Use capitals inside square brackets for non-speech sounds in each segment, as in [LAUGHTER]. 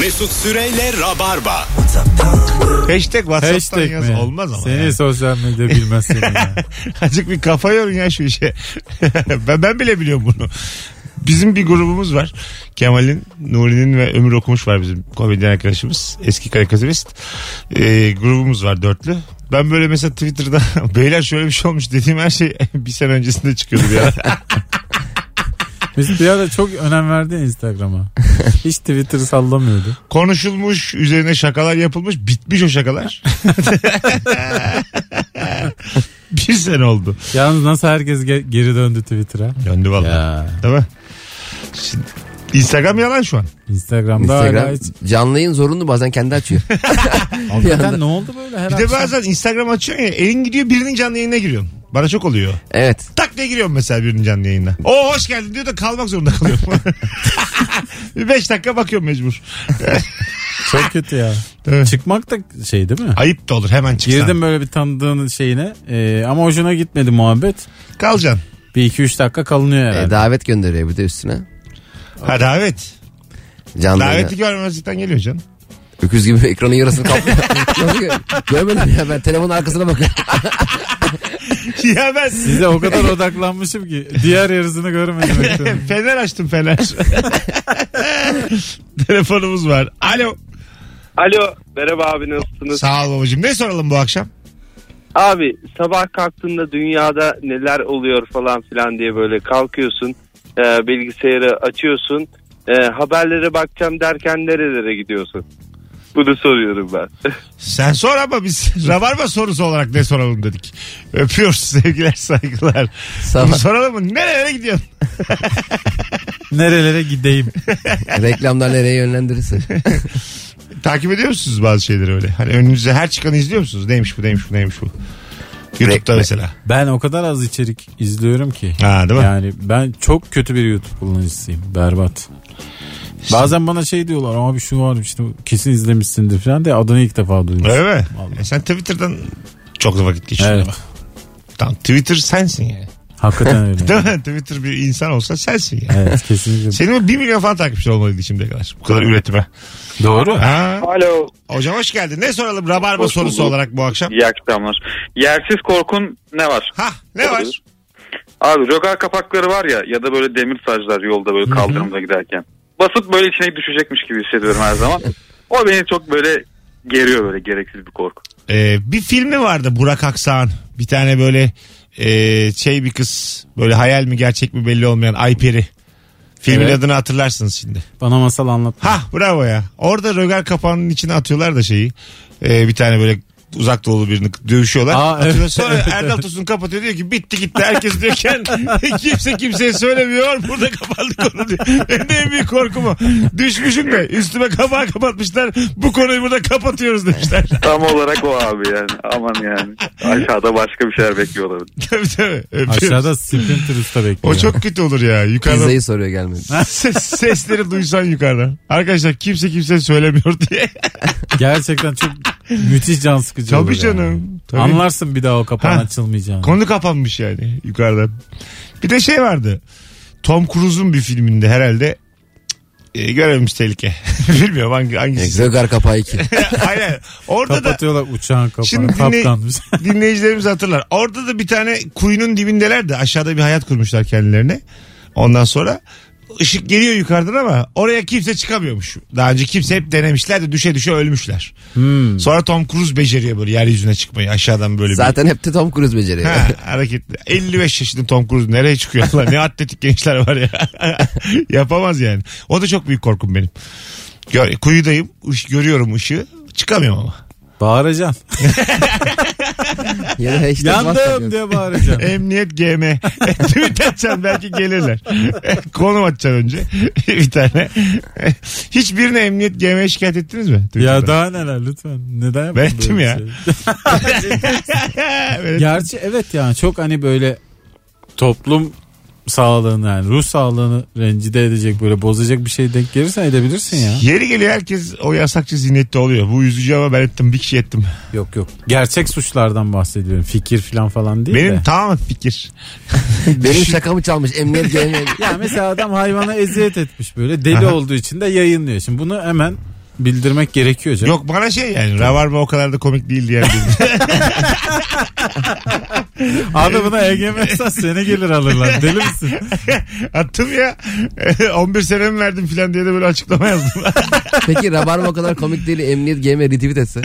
Mesut Süreyle Rabarba. Hashtag Whatsapp'tan Hashtag yaz. mi? Olmaz ama. Seni ya. sosyal [LAUGHS] medya bilmez seni. ya. Azıcık bir kafa yorun ya şu işe. [LAUGHS] ben, ben bile biliyorum bunu. Bizim bir grubumuz var. Kemal'in, Nuri'nin ve Ömür Okumuş var bizim komedyen arkadaşımız. Eski karikatürist. Ee, grubumuz var dörtlü. Ben böyle mesela Twitter'da [LAUGHS] beyler şöyle bir şey olmuş dediğim her şey [LAUGHS] bir sene öncesinde çıkıyordu bir ara. Biz bir ara çok önem verdin Instagram'a. Hiç Twitter sallamıyordu. [LAUGHS] Konuşulmuş, üzerine şakalar yapılmış, bitmiş o [LAUGHS] şakalar. bir sene oldu. Yalnız nasıl herkes ge- geri döndü Twitter'a. Döndü vallahi. Ya Değil mi? Şimdi, Instagram yalan şu an. Instagram'da hala Instagram hiç. canlı yayın zorunlu bazen kendi açıyor. Bir anda. Hakikaten ne oldu böyle her Bir de akşam? bazen Instagram açıyorsun ya elin gidiyor birinin canlı yayına giriyorsun. Bana çok oluyor. Evet. Tak diye giriyorum mesela birinin canlı yayına. O hoş geldin diyor da kalmak zorunda kalıyorum. [LAUGHS] bir beş dakika bakıyorum mecbur. Çok kötü ya. [LAUGHS] Evet. Çıkmak da şey değil mi? Ayıp da olur hemen çıksan. Girdim böyle bir tanıdığın şeyine e, ama hoşuna gitmedi muhabbet. Kalacaksın. Bir iki üç dakika kalınıyor E, herhalde. davet gönderiyor bir de üstüne. Ha davet. Canlı yayına. Daveti görmezlikten geliyor canım. [LAUGHS] Öküz gibi ekranın yarısını kaplıyor. Nasıl [LAUGHS] gö- Görmedim ya ben telefonun arkasına bakıyorum. ya ben Size o kadar odaklanmışım ki diğer yarısını görmedim. ekranın. [LAUGHS] [LAUGHS] fener açtım fener. Telefonumuz var. Alo. Alo merhaba abi nasılsınız? Sağ ol babacığım. Ne soralım bu akşam? Abi sabah kalktığında dünyada neler oluyor falan filan diye böyle kalkıyorsun. e, bilgisayarı açıyorsun. e, haberlere bakacağım derken nerelere gidiyorsun? Bunu soruyorum ben. [LAUGHS] Sen sor ama biz [LAUGHS] rabarba sorusu olarak ne soralım dedik. Öpüyoruz [LAUGHS] sevgiler saygılar. Sağ ol. Bunu soralım mı? Nerelere gidiyorsun? Nerelere gideyim? Reklamlar nereye yönlendirirse. Takip ediyor musunuz bazı şeyleri öyle? Hani önünüze her çıkanı izliyor musunuz? Neymiş bu neymiş bu neymiş bu? YouTube'da Re- mesela. Ben o kadar az içerik izliyorum ki. Ha değil mi? Yani ben çok kötü bir YouTube kullanıcısıyım. Berbat. Bazen bana şey diyorlar abi şu var işte kesin izlemişsindir falan diye adını ilk defa duymuşum. Öyle mi? Vallahi. E sen Twitter'dan çok da vakit geçiriyorsun. Evet. Tam Tamam Twitter sensin yani. Hakikaten öyle. Değil mi? Şey, Twitter bir insan olsa sensin yani. evet kesinlikle. Senin 1 milyon falan takipçi olmalıydı şimdiye kadar. Bu kadar [LAUGHS] üretime. Doğru. Ha. Alo Hocam hoş geldin. Ne soralım rabarba Hoş sorusu bulduk. olarak bu akşam? iyi akşamlar. Yersiz korkun ne var? Ha ne var? Abi rogar kapakları var ya ya da böyle demir saçlar yolda böyle kaldırımda giderken. Basıp böyle içine düşecekmiş gibi hissediyorum [LAUGHS] her zaman. o beni çok böyle geriyor böyle gereksiz bir korku. Ee, bir filmi vardı Burak Aksan. Bir tane böyle e, şey bir kız böyle hayal mi gerçek mi belli olmayan Ayperi. Filmin Evet. adını hatırlarsınız şimdi. Bana masal anlat. Ha bravo ya. Orada rögar kapağının içine atıyorlar da şeyi. Ee, bir tane böyle uzak doğulu birini dövüşüyorlar. Aa, Atıyorlar. evet, Sonra [LAUGHS] evet, Erdal evet. Tosun kapatıyor diyor ki bitti gitti herkes diyorken [LAUGHS] kimse kimseye söylemiyor burada kapandı konu diyor. Benim de en büyük korkum o. Düşmüşüm de üstüme kapağı kapatmışlar bu konuyu burada kapatıyoruz demişler. [LAUGHS] Tam olarak o abi yani. Aman yani. Aşağıda başka bir şeyler bekliyor olabilir. tabii tabii. Öpüyoruz. Aşağıda Sprinter Usta bekliyor. O çok kötü olur ya. Yukarıdan Pizzayı soruyor gelmedi. ses, sesleri duysan yukarıdan. Arkadaşlar kimse kimse söylemiyor diye. [LAUGHS] Gerçekten çok müthiş can sıkıcı olur Tabii yani. canım. Tabii. Anlarsın bir daha o kapağın Ha. açılmayacağını. Konu kapanmış yani yukarıdan. Bir de şey vardı. Tom Cruise'un bir filminde herhalde e, görevimiz tehlike. [LAUGHS] Bilmiyorum hangi, hangisi. Rögar kapağı 2. Aynen. Orada da Kapatıyorlar uçağın kapağını. Şimdi dinle- Kaptanmış. [LAUGHS] dinleyicilerimiz hatırlar. Orada da bir tane kuyunun dibindeler de aşağıda bir hayat kurmuşlar kendilerine. Ondan sonra ışık geliyor yukarıdan ama oraya kimse çıkamıyormuş. Daha önce kimse hep denemişler de düşe düşe ölmüşler. Hmm. Sonra Tom Cruise beceriyor böyle yeryüzüne çıkmayı aşağıdan böyle bir- Zaten hep de Tom Cruise beceriyor. Ha, hareketli. 55 yaşında Tom Cruise nereye çıkıyor lan? Ne atletik gençler var ya. [LAUGHS] Yapamaz yani. O da çok büyük korkum benim. Gör, kuyudayım. ış- görüyorum ışığı. Çıkamıyorum ama. Bağıracaksın. [LAUGHS] ya da hashtag Yandım [LAUGHS] WhatsApp yok. diye bağıracaksın. Emniyet [LAUGHS] GM. Tweet atacaksın belki gelirler. [LAUGHS] Konum atacaksın önce. [LAUGHS] bir tane. [LAUGHS] Hiçbirine Emniyet GM'ye şikayet ettiniz mi? Ya Twitter'da? daha neler lütfen. Neden yaptın Ben ettim böyle ya. bir şey? [LAUGHS] Evet. Gerçi evet yani çok hani böyle toplum sağlığını yani ruh sağlığını rencide edecek böyle bozacak bir şey denk gelirsen edebilirsin ya. Yeri geliyor herkes o yasakçı zihniyette oluyor. Bu üzücü ama ben ettim. Bir kişi ettim. Yok yok. Gerçek suçlardan bahsediyorum. Fikir falan falan değil Benim de. tamamen fikir. Benim şakamı çalmış emniyet gelmedi. Ya mesela adam hayvana eziyet etmiş böyle. Deli Aha. olduğu için de yayınlıyor. Şimdi bunu hemen bildirmek gerekiyor canım. Yok bana şey yani rabarba o kadar da komik değil diye. [LAUGHS] Adamına EGM'den sene gelir alırlar. Deli misin? Attım ya [LAUGHS] 11 senemi verdim filan diye de böyle açıklama yazdım. [LAUGHS] Peki Rabarba o kadar komik değil. Emniyet GM retweet etse.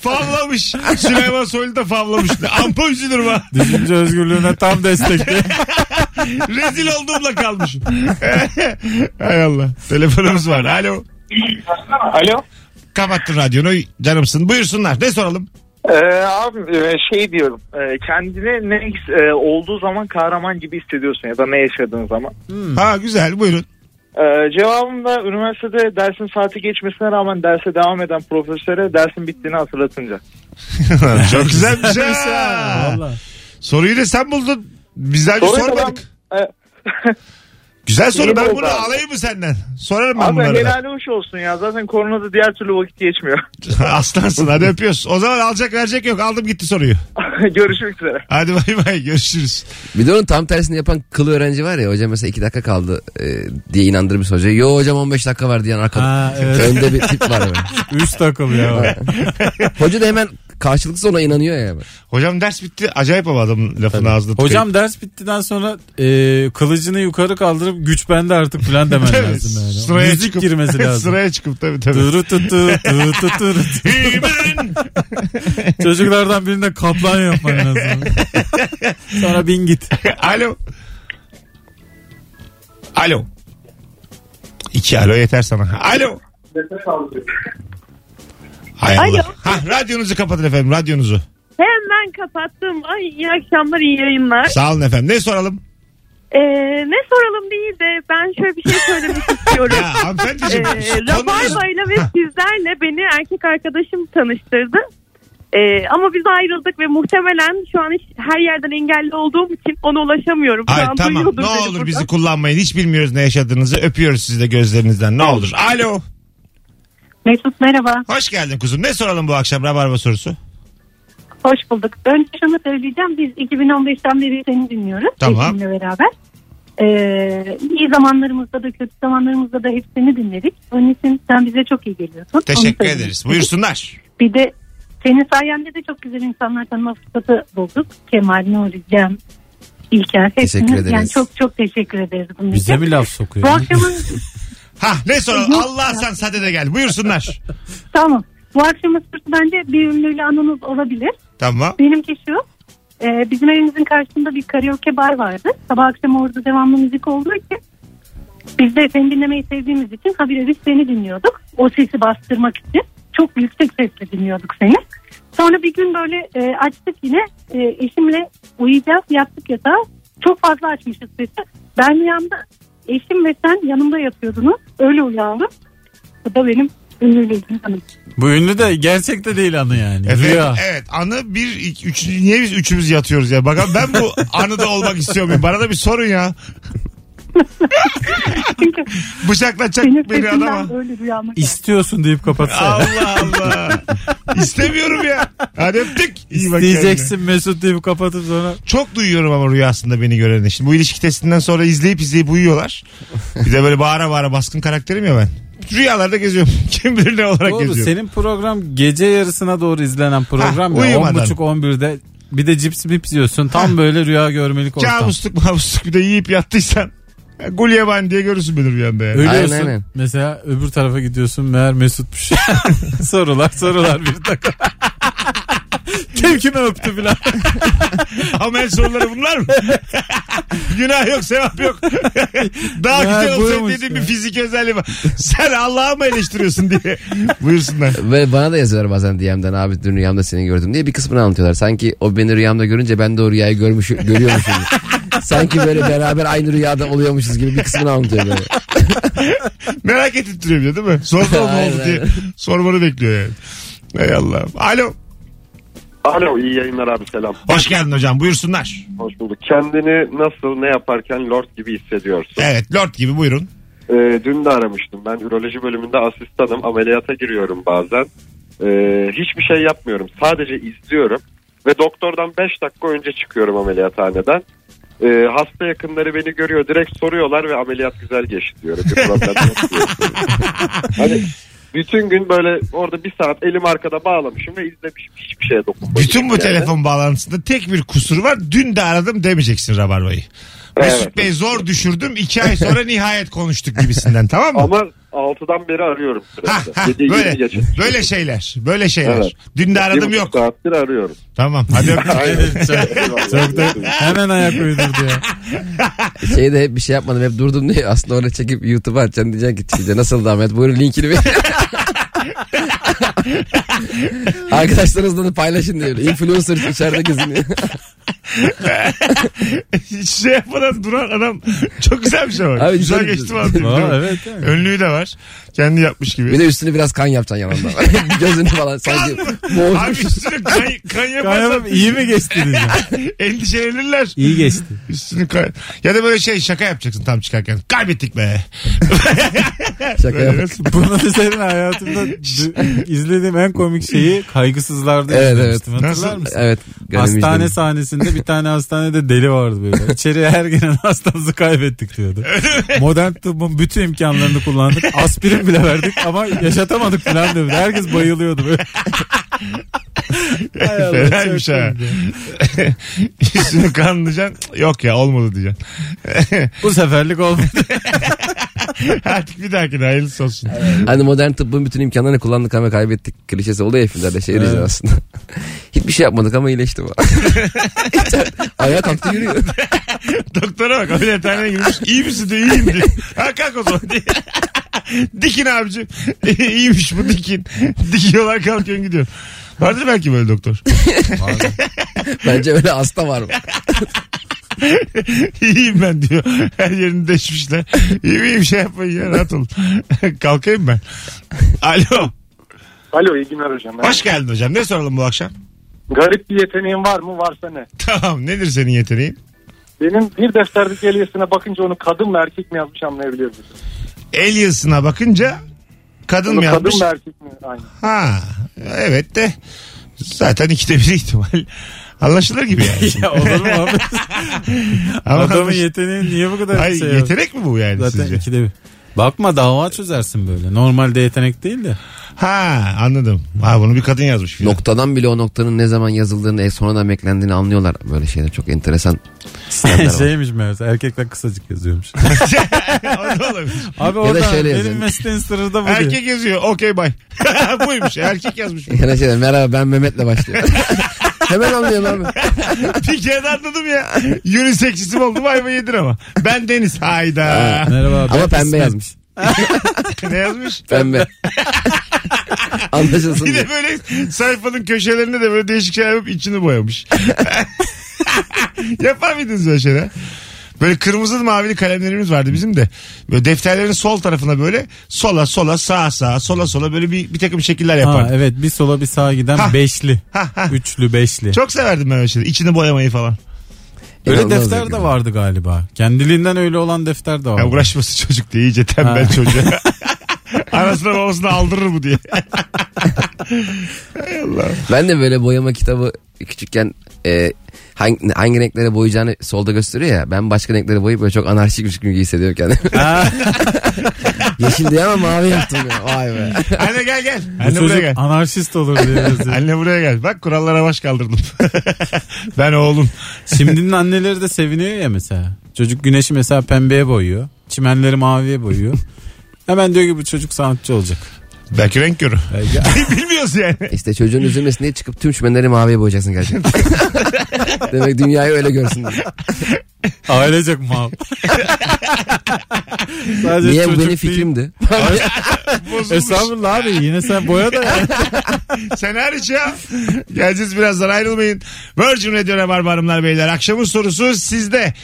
favlamış. [LAUGHS] Süleyman Soylu da favlamış. Ampul üzülür bana. Düşünce özgürlüğüne tam destekli. Rezil olduğumla kalmışım. [LAUGHS] Hay Allah. Telefonumuz var. Alo. Alo. Kapattın radyonu. Canımsın. Buyursunlar. Ne soralım? Ee, abi e, şey diyorum. E, kendini ne e, olduğu zaman kahraman gibi hissediyorsun ya da ne yaşadığın zaman. Hmm. Ha güzel. [LAUGHS] Buyurun. Ee, cevabım da üniversitede dersin saati geçmesine rağmen derse devam eden profesöre dersin bittiğini E, hatırlatınca. Çok güzel bir şey. Valla. Soruyu da sen buldun. Biz daha önce Soruyu da sormadık. ben- e, Güzel soru. İyi Ben oldu bunu abi. alayım mı senden? Sorarım ben abi bunları. da. helali hoş olsun ya. Zaten koronada diğer türlü vakit geçmiyor. [LAUGHS] [LAUGHS] Aslansın. Hadi öpüyoruz. O zaman alacak verecek yok. Aldım gitti soruyu. Görüşmek üzere. Hadi bay bay. Görüşürüz. Bir de onun tam tersini yapan kılı öğrenci var ya. Hocam mesela 2 dakika kaldı e, diye inandırmış hocayı. Yo hocam 15 dakika var diyen arkada. Ha evet. Önde bir tip [LAUGHS] var. Böyle. [LAUGHS] Üç takılıyor. ya. Hoca da hemen karşılıksız ona inanıyor ya. Hocam ders bitti. Acayip ama adamın lafını ağzına tıkayıp. Hocam ders bittiden sonra e, kılıcını yukarı kaldırıp güç bende artık [LAUGHS] falan demen Tabii. lazım. Yani. Sıraya [LAUGHS] Müzik çıkıp, [LAUGHS] girmesi lazım. sıraya çıkıp tabii tabii. Duru tu tu, tu tu tu ru [LAUGHS] tu. Hemen. Çocuklardan birinde kaplan [LAUGHS] yapman lazım. Sonra bin git. Alo. Alo. İki alo yeter sana. Alo. Hay Alo. Allah. Ha, radyonuzu kapatın efendim radyonuzu. Hemen kapattım. Ay iyi akşamlar, iyi yayınlar. Sağ olun efendim. Ne soralım? Ee, ne soralım değil de ben şöyle bir şey söylemek [LAUGHS] istiyorum. Ya Ee, hanımefendiciğim. konumuz- Rabarba'yla ve Ha, sizlerle beni erkek arkadaşım tanıştırdı. Ee, ama biz ayrıldık ve muhtemelen şu an hiç her yerden engelli olduğum için ona ulaşamıyorum. Şu Ay, an tamam duyuyordur ne beni olur burada. bizi kullanmayın. Hiç bilmiyoruz ne yaşadığınızı. Öpüyoruz sizi de gözlerinizden. Ne olur. Alo. Mesut merhaba. Hoş geldin kuzum. Ne soralım bu akşam Rabarba sorusu? Hoş bulduk. Önce şunu söyleyeceğim. Biz 2015'ten beri seni dinliyoruz. Tamam. Eşimle beraber. Ee, iyi zamanlarımızda da kötü zamanlarımızda da hepsini dinledik. Onun için sen bize çok iyi geliyorsun. Onu Teşekkür söyleyeyim. ederiz. Buyursunlar. Bir de senin sayende de çok güzel insanlar tanıma fırsatı bulduk. Kemal, Nuri, Cem, İlker. Teşekkür hepsiniz. Yani ederiz. çok çok teşekkür ederiz. Bunun Bize için. mi laf Bu sokuyor? akşamın [LAUGHS] Ha ne soralım? Yok Allah sen sade de gel. Buyursunlar. tamam. Bu akşamın sırtı bence bir ünlüyle anonuz olabilir. Tamam. Benimki şu. e, bizim evimizin karşısında bir karaoke bar vardı. Sabah akşam orada devamlı müzik olduğu için biz de seni dinlemeyi sevdiğimiz için habire biz seni dinliyorduk. O sesi bastırmak için çok yüksek sesle dinliyorduk seni. Sonra bir gün böyle e, açtık yine e, eşimle uyuyacağız yattık yatağa. Çok fazla açmışız sesi. Ben rüyamda eşim ve sen yanımda yatıyordunuz. Öyle uyandım. Bu da benim ünlüyle ilgili anım. Bu ünlü de gerçekte değil anı yani. Evet, Rüya. evet anı bir iki, üç niye biz üçümüz yatıyoruz ya bakalım ben bu anıda olmak istiyor muyum bana da bir sorun ya Çünkü bıçaklatacak benim beni adama sesimden böyle rüyama geldi. İstiyorsun deyip kapatsa. Allah Allah istemiyorum ya hadi öptük İyi bak kendine. İsteyeceksin Mesut deyip kapatıp sonra. çok duyuyorum ama rüyasında beni göreni şimdi bu ilişki testinden sonra izleyip izleyip uyuyorlar bir de böyle bağıra bağıra baskın karakterim ya ben rüyalarda geziyorum [LAUGHS] kim bilir ne olarak Doğru geziyorum senin program gece yarısına doğru izlenen program Ha, ya. uyumadan. 10.30-11'de bir de cips mips yiyorsun. Tam böyle rüya görmelik ortam. kabusluk mabusluk bir de yiyip yattıysan Gulyeban diye görürsün beni rüyanda yani. Ölüyorsun. Aynen, aynen. Mesela öbür tarafa gidiyorsun meğer Mesut'muş. [LAUGHS] sorular sorular bir takım. [LAUGHS] Kim kime öptü filan. [LAUGHS] Amel soruları bunlar mı? Günah yok, sevap [LAUGHS] yok. Daha Ya, güzel olsaydı buymuş dediğim ya. bir fizik özelliği var. Sen Allah'ı mı eleştiriyorsun [LAUGHS] diye. Buyursunlar. Ve bana da yazıyorlar bazen DM'den abi dün rüyamda seni gördüm diye bir kısmını anlatıyorlar. Sanki o beni rüyamda görünce ben de o rüyayı görmüş, görüyormuşum. Sanki böyle beraber aynı rüyada oluyormuşuz gibi bir kısmını anlatıyor böyle. Merak ettiriyor bir de değil mi? Sorma ne oldu Aynen, diye. aynen. Sormanı bekliyor yani. Ey Allah'ım. Alo. Alo iyi yayınlar abi selam. Hoş geldin hocam. Buyursunlar. Hoş bulduk. Kendini nasıl ne yaparken lord gibi hissediyorsun? Evet Lord gibi buyurun. Ee, dün de aramıştım ben üroloji bölümünde asistanım ameliyata giriyorum bazen. Ee, hiçbir şey yapmıyorum sadece izliyorum ve doktordan 5 dakika önce çıkıyorum ameliyathaneden. Ee, hasta [LAUGHS] yakınları beni görüyor direkt soruyorlar ve ameliyat güzel geçti diyorum. Bir problem yok diyor. Hani bütün gün böyle orada bir saat elim arkada bağlamışım ve izlemişim. Hiçbir şeye dokunmadım. Bütün bu Yani. telefon bağlantısında tek bir kusur var. Dün de aradım demeyeceksin Rabarba'yı. Mesut Bey zor düşürdüm. iki ay sonra nihayet konuştuk gibisinden tamam mı? Ama 6'dan beri arıyorum Ha, sürekli. ha, Gece yirmi böyle, geçe. böyle şeyler. Böyle şeyler. Evet. Dün de Bir aradım buçuk yok. Saattir arıyorum. Tamam. [LAUGHS] Hadi öptük. Evet, çok- çok da hemen ayak uydurdu ya. Şeyde hep bir şey yapmadım hep durdum diye aslında orada çekip YouTube'a atacaksın diyeceksin ki Çince nasıl Ahmet buyurun linkini ver. [LAUGHS] Arkadaşlarınızla da paylaşın diyor. Influencer içeride geziniyor. [LAUGHS] Hiç şey yapmadan duran adam çok güzel bir şey var. Abi güzel güzel- geçti vallahi. değil mi? Aa, evet. yani. Önlüğü de var. Kendi yapmış Bir gibi. de üstüne biraz kan yapacaksın yanında. [LAUGHS] Gözünü falan sanki Abi boğulmuş. üstüne kan, kan yaparsan [LAUGHS] Kayamam iyi mi geçti diyeceğim. endişelenirler. şey. [LAUGHS] İyi geçti. Üstünü kay- Ya da böyle şey şaka yapacaksın tam çıkarken. Kaybettik be. Şaka Böyle yap. nasıl? Bunun üzerine [LAUGHS] hayatımda dü- izlediğim en komik şeyi kaygısızlarda Evet, izlemiştim. evet. Hatırlar Nasıl? mısın? Evet. ganim Hastane izledim. sahnesinde bir tane hastanede deli vardı böyle. İçeriye her gelen [LAUGHS] hastamızı kaybettik diyordu. Modern tıbbın bütün imkanlarını kullandık. Aspirin bile verdik ama yaşatamadık falan diyordu. Herkes bayılıyordu böyle. Hay Allah, çok Fenaymış ha. komik ya. [LAUGHS] Üstünü kanlayacaksın. Yok ya olmadı diyeceksin. [LAUGHS] Bu seferlik olmadı. Artık bir dahakine hayırlısı olsun. Hani modern tıbbın bütün imkanlarını kullandık ama kaybettik klişesi oldu ya filmlerde şey diyeceğim Evet. aslında. [LAUGHS] Hiçbir şey yapmadık ama iyileşti bu. [LAUGHS] Ayağa kalktı yürüyor. Doktora bak ameliyathaneye girmiş. İyi misin diyor iyiyim diyor. Ha kalk o zaman [LAUGHS] diye. dikin abicim. İyiymiş bu dikin. Dikiyorlar kalkıyorsun gidiyor. Vardır belki böyle doktor. [LAUGHS] Bence öyle hasta var mı? İyiyim ben diyor. Her yerini deşmişler. İyiyim iyiyim şey yapmayın ya rahat olun. [LAUGHS] Kalkayım ben. Alo. Alo iyi günler hocam. Hoş geldin hocam. Ne soralım bu akşam? Garip bir yeteneğin var mı? Varsa ne? Tamam nedir senin yeteneğin? Benim bir defterdeki eliyesine bakınca onu kadın mı erkek mi yazmış anlayabiliyoruz. El yazısına bakınca kadın Onu mı yazmış? kadın mı erkek mi? Aynı. Ha evet de zaten ikide bir ihtimal. Anlaşılır gibi yani. ya olur mu [LAUGHS] abi? Ama Adamın anlaş- yeteneği niye bu kadar Ay şey yok? yetenek mi bu yani Zaten sizce? ikide bir. Bakma dava çözersin böyle. Normalde yetenek değil de. Ha anladım. Ha bunu bir kadın yazmış. filan. Noktadan bile o noktanın ne zaman yazıldığını e, sonradan beklendiğini anlıyorlar. Böyle şeyler çok enteresan. [LAUGHS] sistemler var. Şeymiş meğerse erkekler kısacık [LAUGHS] yazıyormuş. [LAUGHS] O da [LAUGHS] olabilir. Abi Ya da orada şöyle benim yazıyor. mesleğin sırrı da bu diyor. Erkek yazıyor. Okey bay. [LAUGHS] Buymuş. Erkek yazmış. Yani şey, merhaba ben Mehmet'le başlıyor. [LAUGHS] Hemen anlıyorlar mı? [LAUGHS] bir kere de anladım ya. Unisexisim oldu. Bay bay yedir ama. Ben Deniz. Hayda. Ha. Merhaba. Ama pembe İsmet. yazmış. [LAUGHS] ne yazmış? [LAUGHS] Pembe. Anlaşılsın Bir diye. de böyle sayfanın köşelerinde de böyle değişik şeyler yapıp içini boyamış. [LAUGHS] Yapar mıydınız böyle şeyler? Böyle kırmızı mavili kalemlerimiz vardı bizim de. Böyle defterlerin sol tarafına böyle sola sola sağa sağa sola sola böyle bir, bir takım şekiller Ha, yapardı. evet bir sola bir sağa giden Ha. beşli. Ha, ha. Üçlü beşli. Çok severdim ben öyle şeyleri. İçini boyamayı falan. öyle İnanılmaz defter de zevkli. vardı galiba. Kendiliğinden öyle olan defter de vardı. Ya uğraşması çocuk diye iyice tembel Ha. [LAUGHS] çocuğa. Anasına babasına aldırır bu diye. Hay Allah. Ben de böyle boyama kitabı küçükken e, hangi, hangi renklere boyayacağını solda gösteriyor ya. Ben başka renklere boyayıp böyle çok anarşikmiş gibi hissediyorum kendimi. Ha, [LAUGHS] Yeşil diye ama mavi yaptım ya. Vay be. Anne gel gel. bu Anne buraya gel. çocuk anarşist olur [LAUGHS] diye yazıyor. Anne buraya gel. Bak kurallara baş kaldırdım. [LAUGHS] ben oğlum. Şimdinin anneleri de seviniyor ya mesela. Çocuk güneşi mesela pembeye boyuyor. Çimenleri maviye boyuyor. Hemen diyor ki bu çocuk sanatçı olacak. Belki renk [LAUGHS] körü. [LAUGHS] Belki- Bilmiyoruz yani. İşte çocuğun üzülmesin diye çıkıp tüm çimenleri maviye [LAUGHS] boyayacaksın gerçekten. Demek dünyayı öyle görsün diye. Ailecek [LAUGHS] mal. Sadece Niye bu çocuk benim değil. fikrimdi? Bozulmuş. Estağfurullah abi yine sen boya da ya. Sen hariç ya. Geleceğiz birazdan ayrılmayın. Virgin Radio Rabarba Hanımlar Beyler. Akşamın sorusu sizde.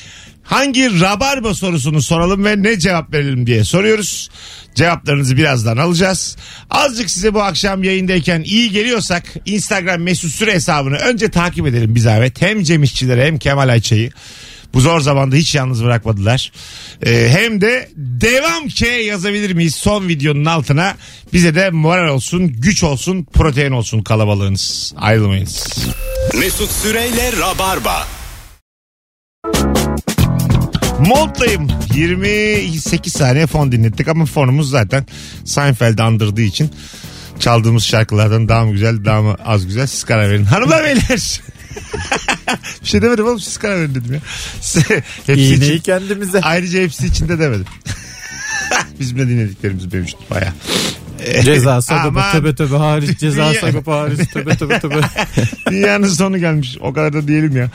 Hangi rabarba sorusunu soralım ve ne cevap verelim diye soruyoruz. Cevaplarınızı birazdan alacağız. Azıcık size bu akşam yayındayken iyi geliyorsak Instagram mesut süre hesabını önce takip edelim bir zahmet. Hem Cem İşçilere hem Kemal Ayça'yı. Bu zor zamanda hiç yalnız bırakmadılar. Ee, hem de devam ki yazabilir miyiz son videonun altına? Bize de moral olsun, güç olsun, protein olsun kalabalığınız. Ayrılmayınız. Mesut Süreyle Rabarba. Montlayım. 28 saniye fon dinlettik ama fonumuz zaten Seinfeld'i andırdığı için çaldığımız şarkılardan daha mı güzel daha mı az güzel siz karar verin. Hanımlar beyler. [LAUGHS] bir şey demedim oğlum siz karar verin dedim ya. [LAUGHS] hepsi İğneyi için, kendimize. ayrıca hepsi için de demedim. [LAUGHS] Bizim de dinlediklerimiz mevcut baya. Ceza Sagopa Aman. töbe töbe hariç. Ceza Dünya- Sagopa hariç töbe töbe töbe. [LAUGHS] Dünyanın sonu gelmiş. O kadar da diyelim ya.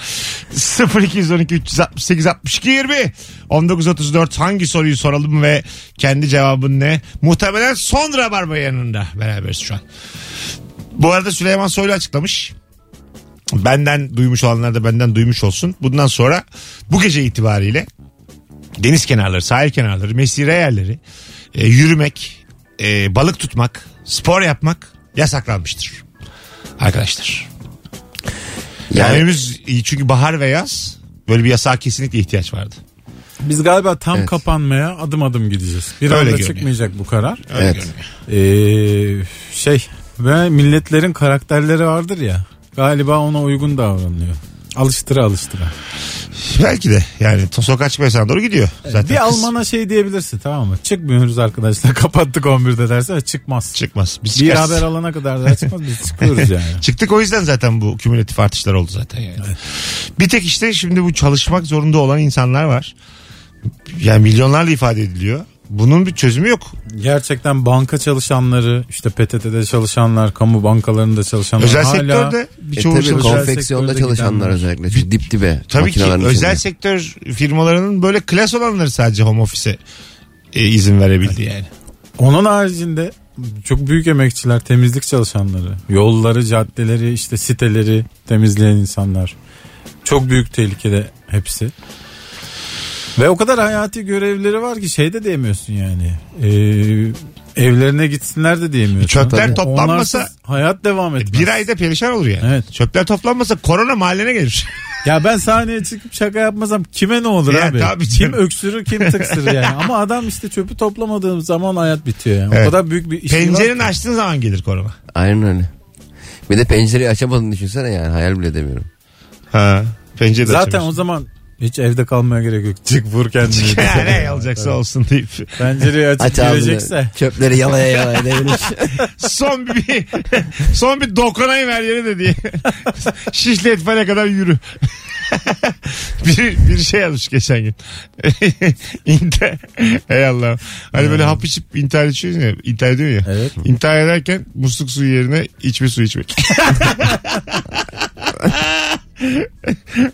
0212 368 62 20 1934 hangi soruyu soralım ve kendi cevabın ne? Muhtemelen son rabarba yanında beraberiz şu an. Bu arada Süleyman Soylu açıklamış. Benden duymuş olanlar da benden duymuş olsun. Bundan sonra bu gece itibariyle deniz kenarları, sahil kenarları, mesire yerleri, e, yürümek, e, balık tutmak, spor yapmak yasaklanmıştır. Arkadaşlar. Yani Yani önümüz çünkü bahar ve yaz böyle bir yasağa kesinlikle ihtiyaç vardı. Biz galiba tam Evet. kapanmaya adım adım gideceğiz. Bir Öyle anda görünüyor. çıkmayacak bu karar. Öyle Evet. görünüyor. Ee, şey ve milletlerin karakterleri vardır ya. Galiba ona uygun davranılıyor. Alıştıra alıştıra. Belki de yani to- sokağa çıkma yasağına doğru gidiyor zaten. bir Kız Alman'a şey diyebilirsin tamam mı? Çıkmıyoruz arkadaşlar [LAUGHS] kapattık 11'de derse çıkmaz. çıkmaz. Biz bir çıkarız. haber alana kadar daha çıkmaz biz [LAUGHS] çıkıyoruz yani. Çıktık o yüzden zaten bu kümülatif artışlar oldu zaten yani. Bir tek işte şimdi bu çalışmak zorunda olan insanlar var. Yani milyonlarla ifade ediliyor. Bunun bir çözümü yok. Gerçekten banka çalışanları işte PTT'de çalışanlar kamu bankalarında çalışanlar Özel hala sektörde e, birçoğu tabii çalışıyor. konfeksiyonda sektörde çalışanlar gidenler. özellikle çünkü dip dibe Tabii ki makinelerin özel içinde. sektör firmalarının böyle klas olanları sadece home office'e e, izin verebildi yani. Onun haricinde çok büyük emekçiler, temizlik çalışanları, yolları, caddeleri, işte siteleri temizleyen insanlar. Çok büyük tehlikede hepsi. Ve o kadar hayati görevleri var ki şey de diyemiyorsun yani. Ee, evlerine gitsinler de diyemiyorsun. Çöpler Tabii. toplanmasa E, Onlarsız hayat devam etmez. Bir ayda perişan olur yani. Evet. Çöpler toplanmasa korona mahallene gelir. Ya ben sahneye çıkıp şaka yapmasam kime ne olur Ya abi? tabii kim canım. öksürür kim tıksırır yani. Ama adam işte çöpü toplamadığım zaman hayat bitiyor yani. Evet. O kadar büyük [LAUGHS] bir iş. Pencereni açtığın zaman gelir korona. Aynen öyle. Bir de pencereyi açamadığını düşünsene yani hayal bile demiyorum. Ha. Pencere de Zaten o açamıyorsun. zaman hiç evde kalmaya gerek yok. Çık vur kendini. [LAUGHS] Ya ne olacaksa olsun deyip. Pencereyi açıp Aç ağzını girecekse. çöpleri yalaya yalaya devirmiş. Son bir [LAUGHS] son bir dokunayım her yere de diye. [LAUGHS] Şişli etfale kadar yürü. [LAUGHS] bir, bir şey yazmış geçen gün. [LAUGHS] İntihar. Ey Allah'ım. Hani böyle Hmm. hap içip intihar içiyorsun ya. İntihar ediyor ya. Evet. İntihar ederken musluk suyu yerine içme suyu içmek. [LAUGHS]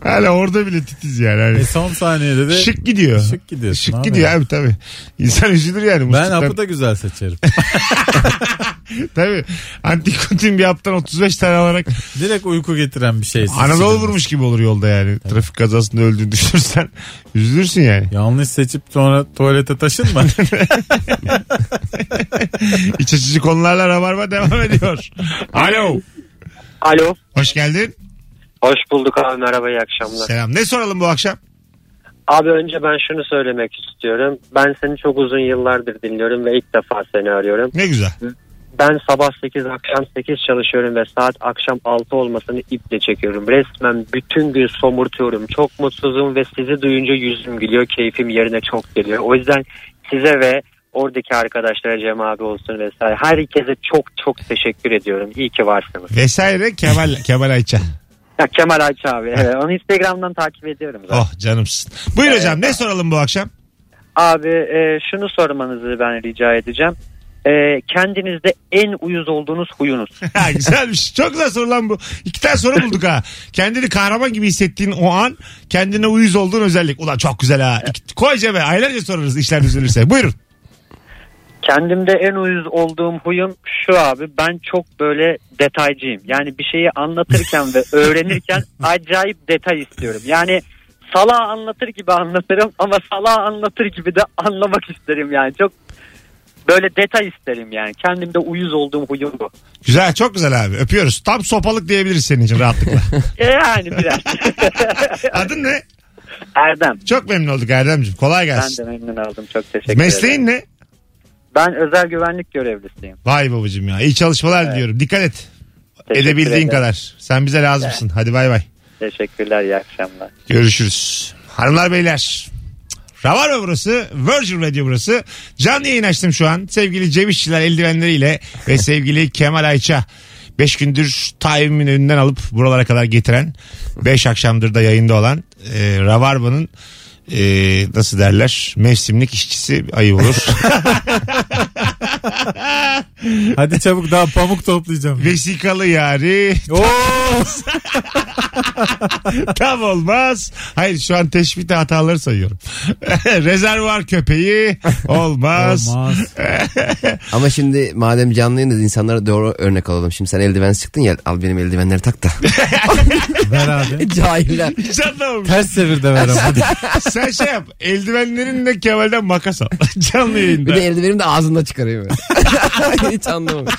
Hala orada bile titiz yani. Hani E son saniyede de şık gidiyor. şık gidiyorsun Şık abi. gidiyor abi tabii. İnsan üzülür yani. ben musluktan. hapı da güzel seçerim. Tabii. Antikotin bir haptan 35 tane [LAUGHS] alarak Direkt uyku getiren bir şey. seçerim. Anadolu vurmuş gibi olur yolda yani. Trafik kazasında öldüğünü düşünürsen üzülürsün yani. Yanlış seçip sonra [LAUGHS] tuvalete taşınma. İç açıcı konularla rabarba devam [LAUGHS] ediyor. Alo. Alo. Hoş geldin. Hoş bulduk abi merhaba iyi akşamlar. Selam. Ne soralım bu akşam? Abi önce ben şunu söylemek istiyorum. Ben seni çok uzun yıllardır dinliyorum ve ilk defa seni arıyorum. Ne güzel. Ben sabah 8 akşam 8 çalışıyorum ve saat akşam 6 olmasını iple çekiyorum. Resmen bütün gün somurtuyorum. Çok mutsuzum ve sizi duyunca yüzüm gülüyor. Keyfim yerine çok geliyor. O yüzden size ve oradaki arkadaşlara Cem abi olsun vesaire. Herkese çok çok teşekkür ediyorum. İyi ki varsınız. Vesaire Kemal, Kemal Ayça. Ya Kemal Ayça abi. Evet, onu Instagram'dan takip ediyorum zaten. Oh canımsın. Buyur hocam ne soralım bu akşam? [LAUGHS] Abi e, şunu sormanızı ben rica edeceğim. E, kendinizde en uyuz olduğunuz huyunuz. Ha, güzelmiş. Çok güzel soru lan bu. İki tane soru bulduk ha. Kendini kahraman gibi hissettiğin o an kendine uyuz olduğun özellik. Ulan çok güzel ha. İki, koy cebe. Aylarca sorarız işler düzelirse. Buyurun. Kendimde en uyuz olduğum huyum şu abi. Ben çok böyle detaycıyım. Yani bir şeyi anlatırken ve öğrenirken acayip detay istiyorum. Yani sala anlatır gibi anlatırım ama sala anlatır gibi de anlamak isterim yani. Çok böyle detay isterim yani. Kendimde uyuz olduğum huyum bu. Güzel çok güzel abi. Öpüyoruz. Tam sopalık diyebiliriz senin için [LAUGHS] rahatlıkla. E, Yani biraz. [LAUGHS] Adın ne? Erdem. Çok memnun olduk Erdem'ciğim. Kolay Ben gelsin. de memnun oldum. Çok teşekkür ederim. Mesleğin ne? Ben özel güvenlik görevlisiyim. Vay babacığım ya. İyi çalışmalar diliyorum. Dikkat et. Teşekkür Edebildiğin ederim. kadar. Sen bize lazımsın. Hadi bay bay. Teşekkürler, iyi akşamlar. Görüşürüz. Hanımlar beyler. Ravarva burası. Virgin Radio burası. Canlı yayın açtım şu an. Sevgili Cem İşçiler eldivenleriyle ve sevgili Kemal Ayça. 5 gündür Tayyip'imin önünden alıp buralara kadar getiren 5 akşamdır da yayında olan e, Ravarva'nın e, nasıl derler mevsimlik işçisi ayı olur. [LAUGHS] Hadi çabuk daha pamuk toplayacağım. Vesikalı yari Oo! tam olmaz. Hayır şu an teşbihte hataları sayıyorum. [LAUGHS] Rezervuar köpeği olmaz. Olmaz. Ama şimdi madem canlı yayınız insanlara doğru örnek alalım. Şimdi sen eldiven çıktın ya al benim eldivenleri tak da. Ver abi. Cahiller. Hiç anlamamış. Ters çevir de ver ama. Hadi. Sen şey yap. Eldivenlerinle Kemal'den makas al. [LAUGHS] Canlı Bir yayında. de eldivenimi de ağzında çıkarıyor. böyle. [LAUGHS] Hiç anlamamış.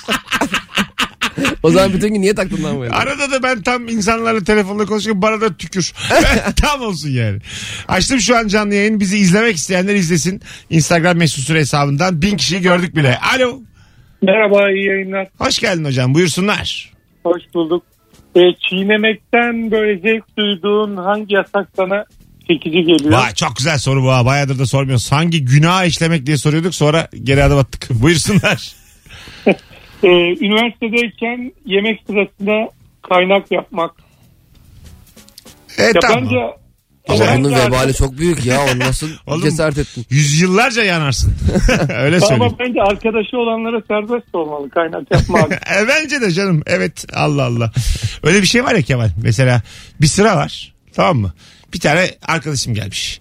o zaman bütün gün niye taktın lan bu eldiveni? Arada da ben tam insanlarla telefonla konuşurken bana da tükür. [LAUGHS] tam olsun yani. Açtım şu an canlı yayın. Bizi izlemek isteyenler izlesin. Instagram mesut süre hesabından. Bin kişiyi gördük bile. Alo. Merhaba iyi yayınlar. Hoş geldin hocam. Buyursunlar. Hoş bulduk. E, çiğnemekten böyle zevk duyduğun hangi yasak sana çekici geliyor? Vay, çok güzel soru bu ha. Bayağıdır da sormuyoruz. Hangi günah işlemek diye soruyorduk. Sonra geri adım attık. [LAUGHS] Buyursunlar. Ee, üniversitedeyken yemek sırasında kaynak yapmak. E, Ya tamam. bence Ama bence bunun artık- vebali çok büyük ya. O nasıl Oğlum- cesaret ettin? Yüzyıllarca yanarsın. [LAUGHS] Öyle söyleyeyim. ama bence arkadaşı olanlara serbest olmalı kaynak yapmak. [LAUGHS] E, bence de canım. Evet Allah Allah. Öyle bir şey var ya Kemal. Mesela bir sıra var. Tamam mı? Bir tane arkadaşım gelmiş.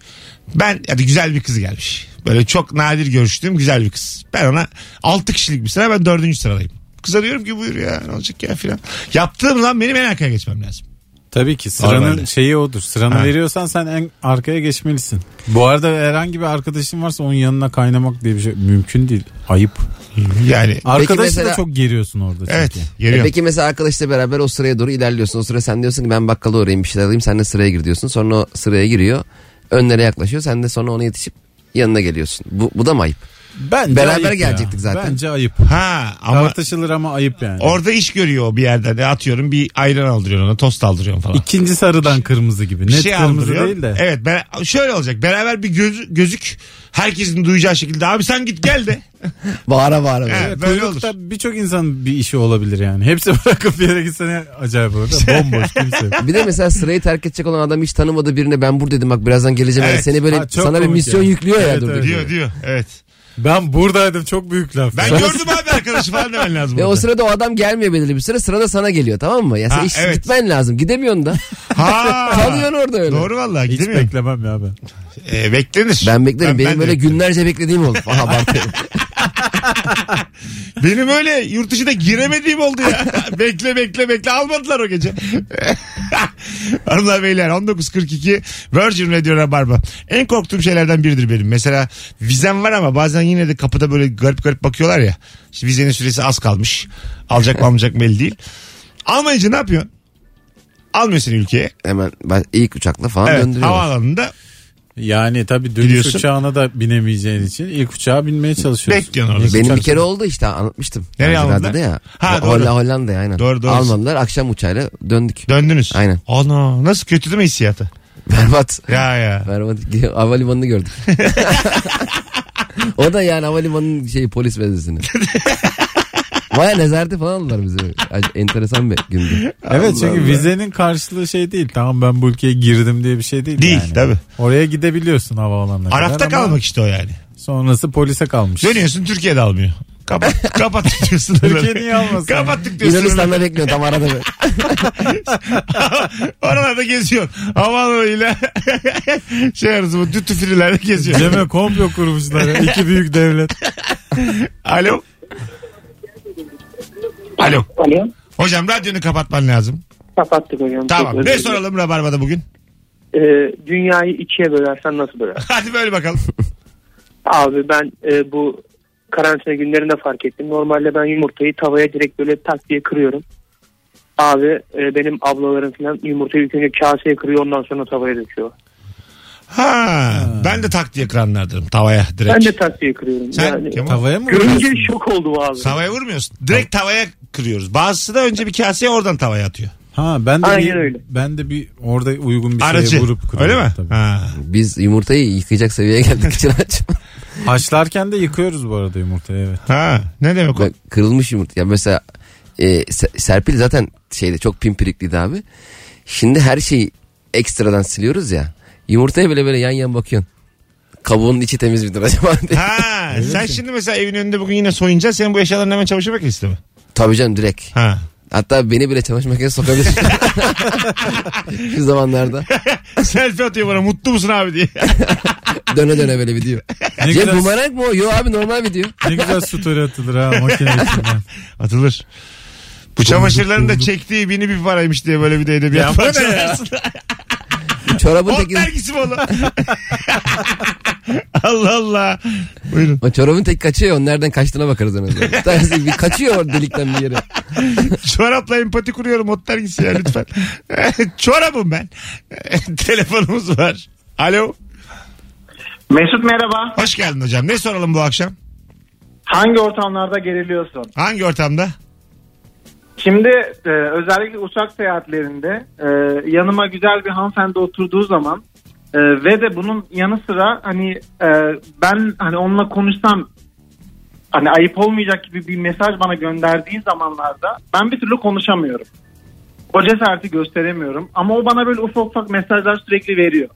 Ben ya da güzel bir kız gelmiş. Böyle çok nadir görüştüğüm güzel bir kız. Ben ona 6 kişilik bir sıra ben 4. sıradayım. Kıza diyorum ki buyur ya ne olacak ya filan. Yaptığım zaman benim en arkaya geçmem lazım. Tabii ki sıranın Normalde. şeyi odur. Sıranı Ha. veriyorsan sen en arkaya geçmelisin. Bu arada herhangi bir arkadaşın varsa onun yanına kaynamak diye bir şey mümkün değil. Ayıp. Yani Arkadaşı da mesela- çok geriyorsun orada çünkü. evet E geliyorum. Hmm. peki mesela arkadaşla beraber o sıraya doğru ilerliyorsun. O sıra sen diyorsun ki ben bakkala uğrayayım bir şeyler alayım. Sen de sıraya gir diyorsun. Sonra o sıraya giriyor. Önlere yaklaşıyor. Sen de sonra ona yetişip yanına geliyorsun. Bu, bu da mı ayıp? Bence Beraber ayıp ya. gelecektik zaten. Bence ayıp. Ha ama Tartışılır ama ayıp yani. orada iş görüyor o bir yerde. Ne atıyorum bir ayran aldırıyorsun ona tost aldırıyorsun falan. İkinci sarıdan kırmızı gibi. bir Net şey kırmızı aldırıyor. değil de. Evet ben, şöyle olacak. Beraber bir göz, gözük herkesin duyacağı şekilde abi sen git gel [LAUGHS] de. Bağıra bağıra. Evet. böyle. Evet, böyle kuyrukta birçok insan bir işi olabilir yani. Hepsi [LAUGHS] bırakıp bir yere gitsene acayip olur. da Bomboş kimse. yok. Bir de mesela sırayı terk edecek olan adam hiç tanımadığı birine ben bur dedim bak birazdan geleceğim. Evet. Yani seni böyle Ha, çok sana bir komik misyon yani. yüklüyor ya Evet, durduk evet. yere. diyor diyor. Evet. Ben buradaydım çok büyük laf. [LAUGHS] Ben Sonra- E, gördüm abi arkadaşı falan demen [LAUGHS] lazım. Ve o orada. sırada o adam gelmiyor belirli bir süre. Sıra da sana geliyor tamam mı? Ya sen Ha, iş evet. gitmen lazım. Gidemiyorsun da. [LAUGHS] Ha. Kalıyorsun orada öyle. Doğru vallahi Hiç gidemiyorum. beklemem ya ben. Ee, beklenir. Ben beklerim. Benim ben de böyle beklerim. günlerce beklediğim oldu. Aha abartıyorum. [LAUGHS] Benim öyle yurt dışına giremediğim oldu ya. [LAUGHS] bekle bekle bekle almadılar o gece. [LAUGHS] Hanımlar beyler 19.42 Virgin Radio Rabarba. En korktuğum şeylerden biridir benim. Mesela vizem var ama bazen yine de kapıda böyle garip garip bakıyorlar ya. İşte vizenin süresi az kalmış. Alacak mı almayacak mı belli değil. Almayınca ne yapıyorsun? Almıyor seni ülkeye. Hemen ben ilk uçakla falan Evet, döndürüyorlar. havaalanında Yani tabii dönüş Gidiyorsun. uçağına da binemeyeceğin için ilk uçağa binmeye çalışıyorsun. bekliyorsun orada. Benim Uçak bir kere oldu işte anlatmıştım. Nereye Radyoda aldılar? ya. Ha, Ha, doğru. Hollanda, Hollanda'ya aynen. Doğru, doğru. Almadılar akşam uçağıyla döndük. Döndünüz. Aynen. Ana nasıl kötü değil mi hissiyatı? Berbat. Ya ya. Berbat. [LAUGHS] Havalimanını gördük. o da yani havalimanının şeyi polis benzesini. Baya nezarete falan aldılar bizi. Ac- Enteresan bir gündü. Evet çünkü vizenin karşılığı şey değil. Tamam ben bu ülkeye girdim diye bir şey değil. Değil yani. tabii. Oraya gidebiliyorsun havaalanına. kadar Arafta ama kalmak işte o yani. Sonrası polise kalmış. Dönüyorsun Türkiye'de almıyor. [LAUGHS] Kapat, kapattık diyor sınırları. Türkiye niye almasın? Kapattık diyor sınırları. Yunanistan'da bekliyor tam arada. böyle. [LAUGHS] Oralarda geziyor. Havaalanıyla [LAUGHS] şey arası bu tütü frilerde geziyor. Cem'e komplo kurmuşlar. ya, İki büyük devlet. [LAUGHS] Alo. Alo. Alo. Hocam radyonu kapatman lazım. Kapattık hocam. Çok Tamam. özür Ne dilerim. soralım Rabarba'da bugün? Ee, dünyayı ikiye bölersen nasıl böler? [LAUGHS] Hadi böyle bakalım. Abi ben e, bu karantina günlerinde fark ettim. Normalde ben yumurtayı tavaya direkt böyle tak diye kırıyorum. Abi e, benim ablalarım falan yumurtayı ilk önce kaseye kırıyor ondan sonra tavaya döküyor. Ha, ben de tak diye kıranlardanım. Tavaya direkt. Ben de tak diye kırıyorum. Sen yani, Kemal? Tavaya mı görünce vuruyorsun? şok oldum abi. Tavaya vurmuyorsun. Direkt tavaya kırıyoruz. Bazısı da önce bir kaseye oradan tavaya atıyor. Ha ben de Aynen bir, öyle. ben de bir orada uygun bir Aracı. şeye vurup kırıyorum. Öyle mi? Tabii. Ha. Biz yumurtayı yıkayacak seviyeye geldik için aç. Haşlarken de yıkıyoruz bu arada yumurtayı evet. ha. Ne demek o? Bak, kırılmış yumurta. Ya mesela e, Se- Serpil zaten şeyde çok pimpirikliydi abi. Şimdi her şeyi ekstradan siliyoruz ya. Yumurtaya böyle böyle yan yan bakıyorsun. Kabuğunun içi temiz midir acaba? diye. Ha, sen şimdi mesela evin önünde bugün yine soyunca senin bu eşyaların hemen çamaşır makinesi mi? Tabii canım direkt. Ha. [LAUGHS] Hatta beni bile çamaşır makinesine sokabilir. Şu zamanlarda. Selfie atıyor bana mutlu musun abi diye. [LAUGHS] Döne döne böyle bir diyor. Ne Cem güzel, bumerang mı o? Yo abi normal bir diyor. ne güzel story atılır ha [LAUGHS] makine içinden. Atılır. Bu çamaşırların da çektiği bini bir paraymış diye böyle bir de edebiyat parçalarsın. Çorabın Ot tekini, dergisi mi oğlum? [LAUGHS] Allah Allah. Buyurun. o çorabın tek kaçıyor. Onun nereden kaçtığına bakarız en azından. Bir tanesi bir kaçıyor delikten bir yere. Çorapla empati kuruyorum ot dergisi ya lütfen. [LAUGHS] Çorabım ben. [LAUGHS] Telefonumuz var. Alo. [LAUGHS] Mesut merhaba. Hoş geldin hocam. Ne soralım bu akşam? Hangi ortamlarda geriliyorsun? Hangi ortamda? Şimdi e, özellikle uçak seyahatlerinde e, yanıma güzel bir hanımefendi oturduğu zaman e, ve de bunun yanı sıra hani e, ben hani onunla konuşsam hani ayıp olmayacak gibi bir mesaj bana gönderdiği zamanlarda ben bir türlü konuşamıyorum. O cesareti gösteremiyorum ama o bana böyle ufak ufak mesajlar sürekli veriyor.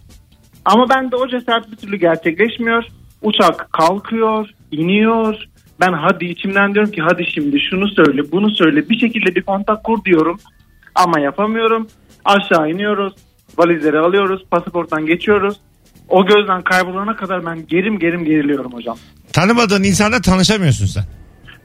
Ama bende o cesaret bir türlü gerçekleşmiyor. Uçak kalkıyor, iniyor. Ben hadi içimden diyorum ki hadi şimdi şunu söyle, bunu söyle. Bir şekilde bir kontak kur diyorum. Ama yapamıyorum. Aşağı iniyoruz. Valizleri alıyoruz. Pasaporttan geçiyoruz. O gözden kaybolana kadar ben gerim gerim geriliyorum hocam. Tanımadığın insanla tanışamıyorsun sen.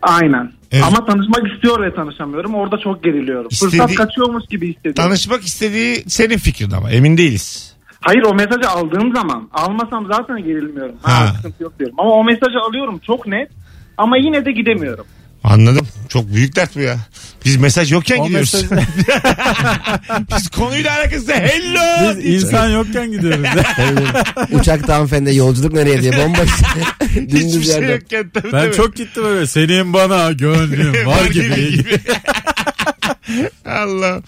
Aynen. Evet. Ama tanışmak istiyor ve tanışamıyorum. Orada çok geriliyorum. Fırsat İstediği- kaçıyormuş gibi hissediyorum. Tanışmak istediği senin fikrin ama emin değiliz. Hayır o mesajı aldığım zaman almasam zaten gerilmiyorum. Ha, Ha. sıkıntı yok diyorum. Ama o mesajı alıyorum çok net ama yine de gidemiyorum. Anladım. Çok büyük dert bu ya. Biz mesaj yokken O gidiyoruz. mesaj- [LAUGHS] Biz konuyla alakası hello. şey Biz insan [LAUGHS] yokken gidiyoruz. Uçakta hanımefendi yolculuk nereye diye bomboş. Hiçbir Dümdüz şey yerden. yokken tabii Ben tabii. çok gittim öyle. Senin bana [LAUGHS] gönlüm var gibi. Allah.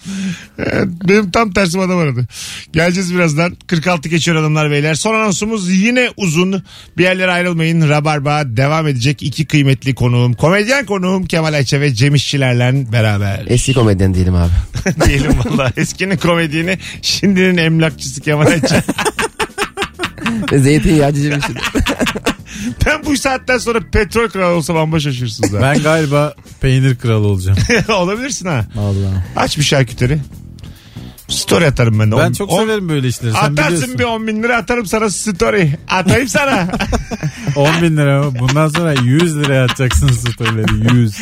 Evet, Benim tam tersim adam aradı. Geleceğiz birazdan. 46 geçiyor hanımlar beyler. Son anonsumuz yine uzun. Bir yerlere ayrılmayın. Rabarba devam edecek. iki kıymetli konuğum. Komedyen konuğum Kemal Ayça ve Cem İşçilerle beraber. Eski komedyen diyelim abi. [LAUGHS] Diyelim valla. Eskinin komedyeni şimdinin emlakçısı Kemal [LAUGHS] Ayça. Zeytinyağı cicim için. ben bu saatten sonra petrol kralı olsam amba şaşırsınız. ha. Ben galiba peynir kralı olacağım. [LAUGHS] Olabilirsin ha. Vallahi. Aç bir şarküteri. Story atarım ben de. Ben On- çok on- severim böyle işleri. Sen Atarsın biliyorsun. bir [LAUGHS] 10 bin lira atarım sana story. Atayım sana. 10 bin lira. Bundan sonra 100 liraya atacaksın storyleri. 100.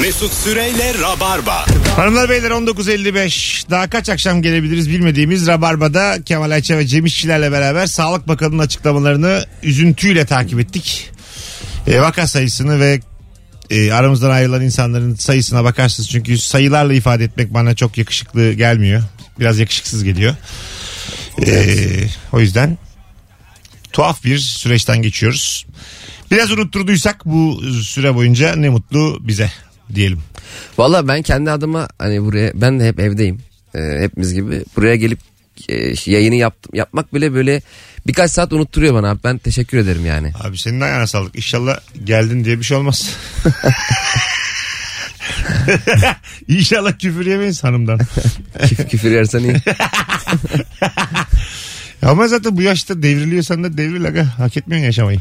Mesut Süreyle Rabarba. Hanımlar beyler 19.55. Daha kaç akşam gelebiliriz bilmediğimiz Rabarba'da Kemal Ayça ve Cem İşçilerle beraber Sağlık Bakanı'nın açıklamalarını üzüntüyle takip ettik. E, vaka sayısını ve e, aramızdan ayrılan insanların sayısına bakarsınız. Çünkü sayılarla ifade etmek bana çok yakışıklı gelmiyor. Biraz yakışıksız geliyor. E, o yüzden tuhaf bir süreçten geçiyoruz. Biraz unutturduysak bu süre boyunca ne mutlu bize diyelim. Valla ben kendi adıma hani buraya ben de hep evdeyim. Ee, hepimiz gibi. Buraya gelip e, yayını yaptım, yapmak bile böyle birkaç saat unutturuyor bana abi. Ben teşekkür ederim yani. Abi senin ayağına sağlık. İnşallah geldin diye bir şey [LAUGHS] olmaz. İnşallah küfür yemeyiz hanımdan. Küf, küfür yersen iyi. Ama zaten bu yaşta devriliyorsan da devril aga. Hak etmiyorsun [LAUGHS] yaşamayı.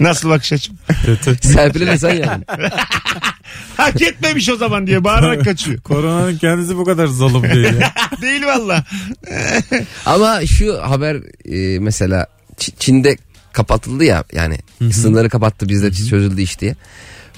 Nasıl bakış açım? Kötü. Serpil'e de sen yani. Hak etmemiş o zaman diye bağırarak kaçıyor. [LAUGHS] Koronanın kendisi bu kadar zalim değil ya. Değil valla. Ama şu haber e, mesela Ç- Çin'de kapatıldı ya yani sınırları kapattı bizde çözüldü iş diye.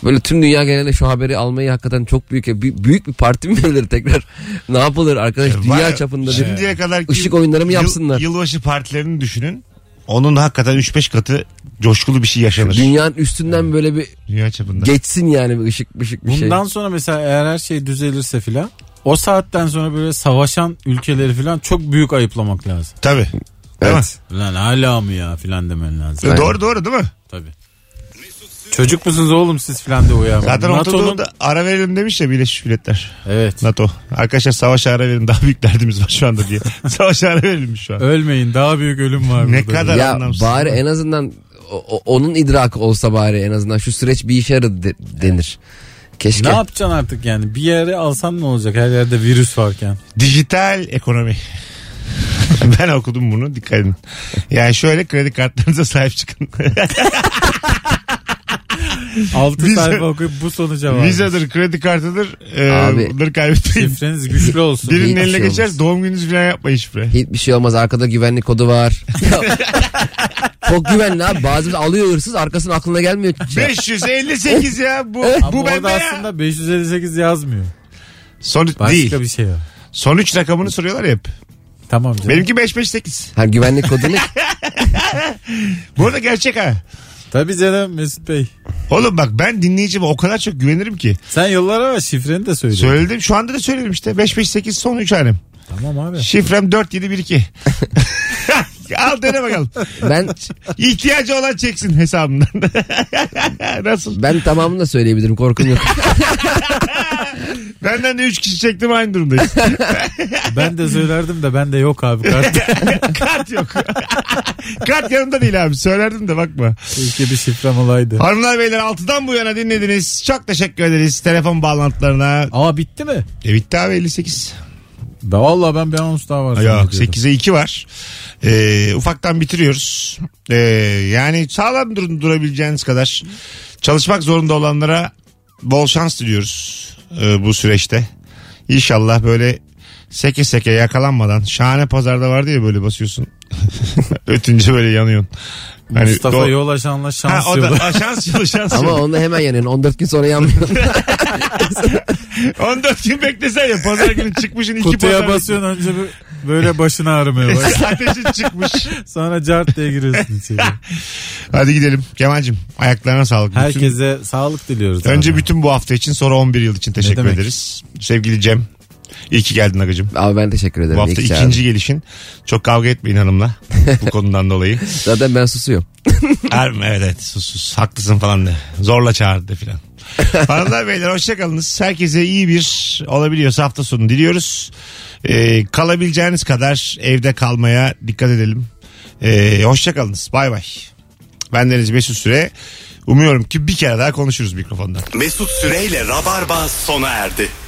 Böyle tüm dünya genelinde şu haberi almayı hakikaten çok büyük e, bü- büyük bir parti mi verilir tekrar? [LAUGHS] ne yapılır arkadaş dünya Var- çapında bir Şimdiye kadar ışık oyunları mı yapsınlar? yılbaşı partilerini düşünün. Onun hakikaten 3-5 katı coşkulu bir şey yaşanır. Dünya, dünyanın üstünden böyle bir çapında. geçsin yani bir ışık ışık [LAUGHS] bir şey. Bundan sonra mesela eğer her şey düzelirse filan o saatten sonra böyle savaşan ülkeleri filan çok büyük ayıplamak lazım. Tabii. Değil mi? evet. Lan hala mı ya filan demen lazım. Doğru doğru değil mi? Tabii. Mesut Çocuk musunuz oğlum siz filan diye uyanmış. Zaten NATO'nun... ortada ara verelim demiş ya Birleşmiş Milletler. Evet. NATO. Arkadaşlar savaşa ara verin daha büyük derdimiz var şu anda [LAUGHS] diye. savaşa ara verilmiş şu an. Ölmeyin daha büyük ölüm var Ne burada. kadar Ya anlamsız. bari en azından o- o- onun idraki olsa bari en azından şu süreç bir işe yaradı de- denir. Keşke. Ne yapacaksın artık yani? Bir yere alsan ne olacak her yerde virüs varken? Dijital ekonomi. [LAUGHS] ben okudum bunu dikkat edin. Yani şöyle kredi kartlarınıza sahip çıkın. [LAUGHS] 6 Vize- sayfa okuyup bu sonuca var. Vizadır, kredi kartıdır. Ee, Abi. bunları kaybetmeyin. Şifreniz güçlü [LAUGHS] olsun. Birinin Hiçbir eline şey geçer olmaz. doğum gününüzü falan yapmayın [LAUGHS] şifre. Hiçbir şey olmaz arkada güvenlik kodu [LAUGHS] var. Çok güvenli abi. Bazı alıyor hırsız arkasının aklına gelmiyor. 558 ya bu Ama bu bende orada ya. aslında 558 yazmıyor. Sonuç Başka değil. bir şey var. Sonuç rakamını soruyorlar ya hep. Tamam canım. Benimki 558. Ha, güvenlik kodu ne? Bu arada gerçek ha. Tabii canım Mesut Bey. Oğlum bak ben dinleyicime o kadar çok güvenirim ki. Sen yollara ama şifreni de söyle. Söyledim şu anda da söyledim işte. 558 son 3 harem. Tamam abi. Şifrem 4712. [LAUGHS] Al dene bakalım. Ben İhtiyacı olan çeksin hesabından. [LAUGHS] Nasıl? ben tamamını da söyleyebilirim [LAUGHS] korkum yok. Benden de 3 kişi çektim aynı durumdayız. [LAUGHS] Ben de söylerdim de ben de yok abi. Kart [LAUGHS] Kart yok. [LAUGHS] Kart yanımda değil abi. Söylerdim de bakma. Keşke bir şifrem olaydı. Hanımlar beyler 6'dan bu yana dinlediniz. Çok teşekkür ederiz telefon bağlantılarına. Aa bitti mi? E, bitti abi 58. Be Vallahi ben bir anons daha var. Yok zannediyordum. 8'e 2 var. Ee, ufaktan bitiriyoruz. Ee, yani sağlam durun durabileceğiniz kadar çalışmak zorunda olanlara bol şans diliyoruz ee, bu süreçte. İnşallah böyle seke seke yakalanmadan şahane pazarda vardı ya böyle basıyorsun. [LAUGHS] Ötünce böyle yanıyorsun. Hani Mustafa do- yol aşanla şans Ha, o da, [LAUGHS] yolu. ha, şans [LAUGHS] yolu şans Ama yolu. onu hemen yanıyorsun. 14 gün sonra yanmıyor. [LAUGHS] 14 gün beklesen ya pazar günü çıkmışın iki Kutuya pazar. basıyorsun önce bir- böyle başın [LAUGHS] ağrımaya bak. Ateşin [LAUGHS] çıkmış. Sonra cart diye giriyorsun içeri. Hadi gidelim. Kemal'cim ayaklarına sağlık. Bütün- Herkese sağlık diliyoruz. Önce abi. bütün bu hafta için sonra 11 yıl için teşekkür demek? ederiz. Sevgili Cem. iyi ki geldin Agacım. Abi ben teşekkür ederim. Bu hafta İyi ki ikinci gelişin. Çok kavga etmeyin hanımla [LAUGHS] bu konudan dolayı. çağırdın. Zaten ben susuyorum. Harbi mi? evet evet sus sus haklısın falan de. Zorla çağırdı [LAUGHS] filan. Hanımlar beyler hoşçakalınız. Herkese iyi bir olabiliyorsa hafta sonu diliyoruz. Ee, kalabileceğiniz kadar evde kalmaya dikkat edelim. Ee, hoşçakalınız bay bay. Ben Deniz Mesut Süre. Umuyorum ki bir kere daha konuşuruz mikrofondan. Mesut Süreyle Rabarba sona erdi.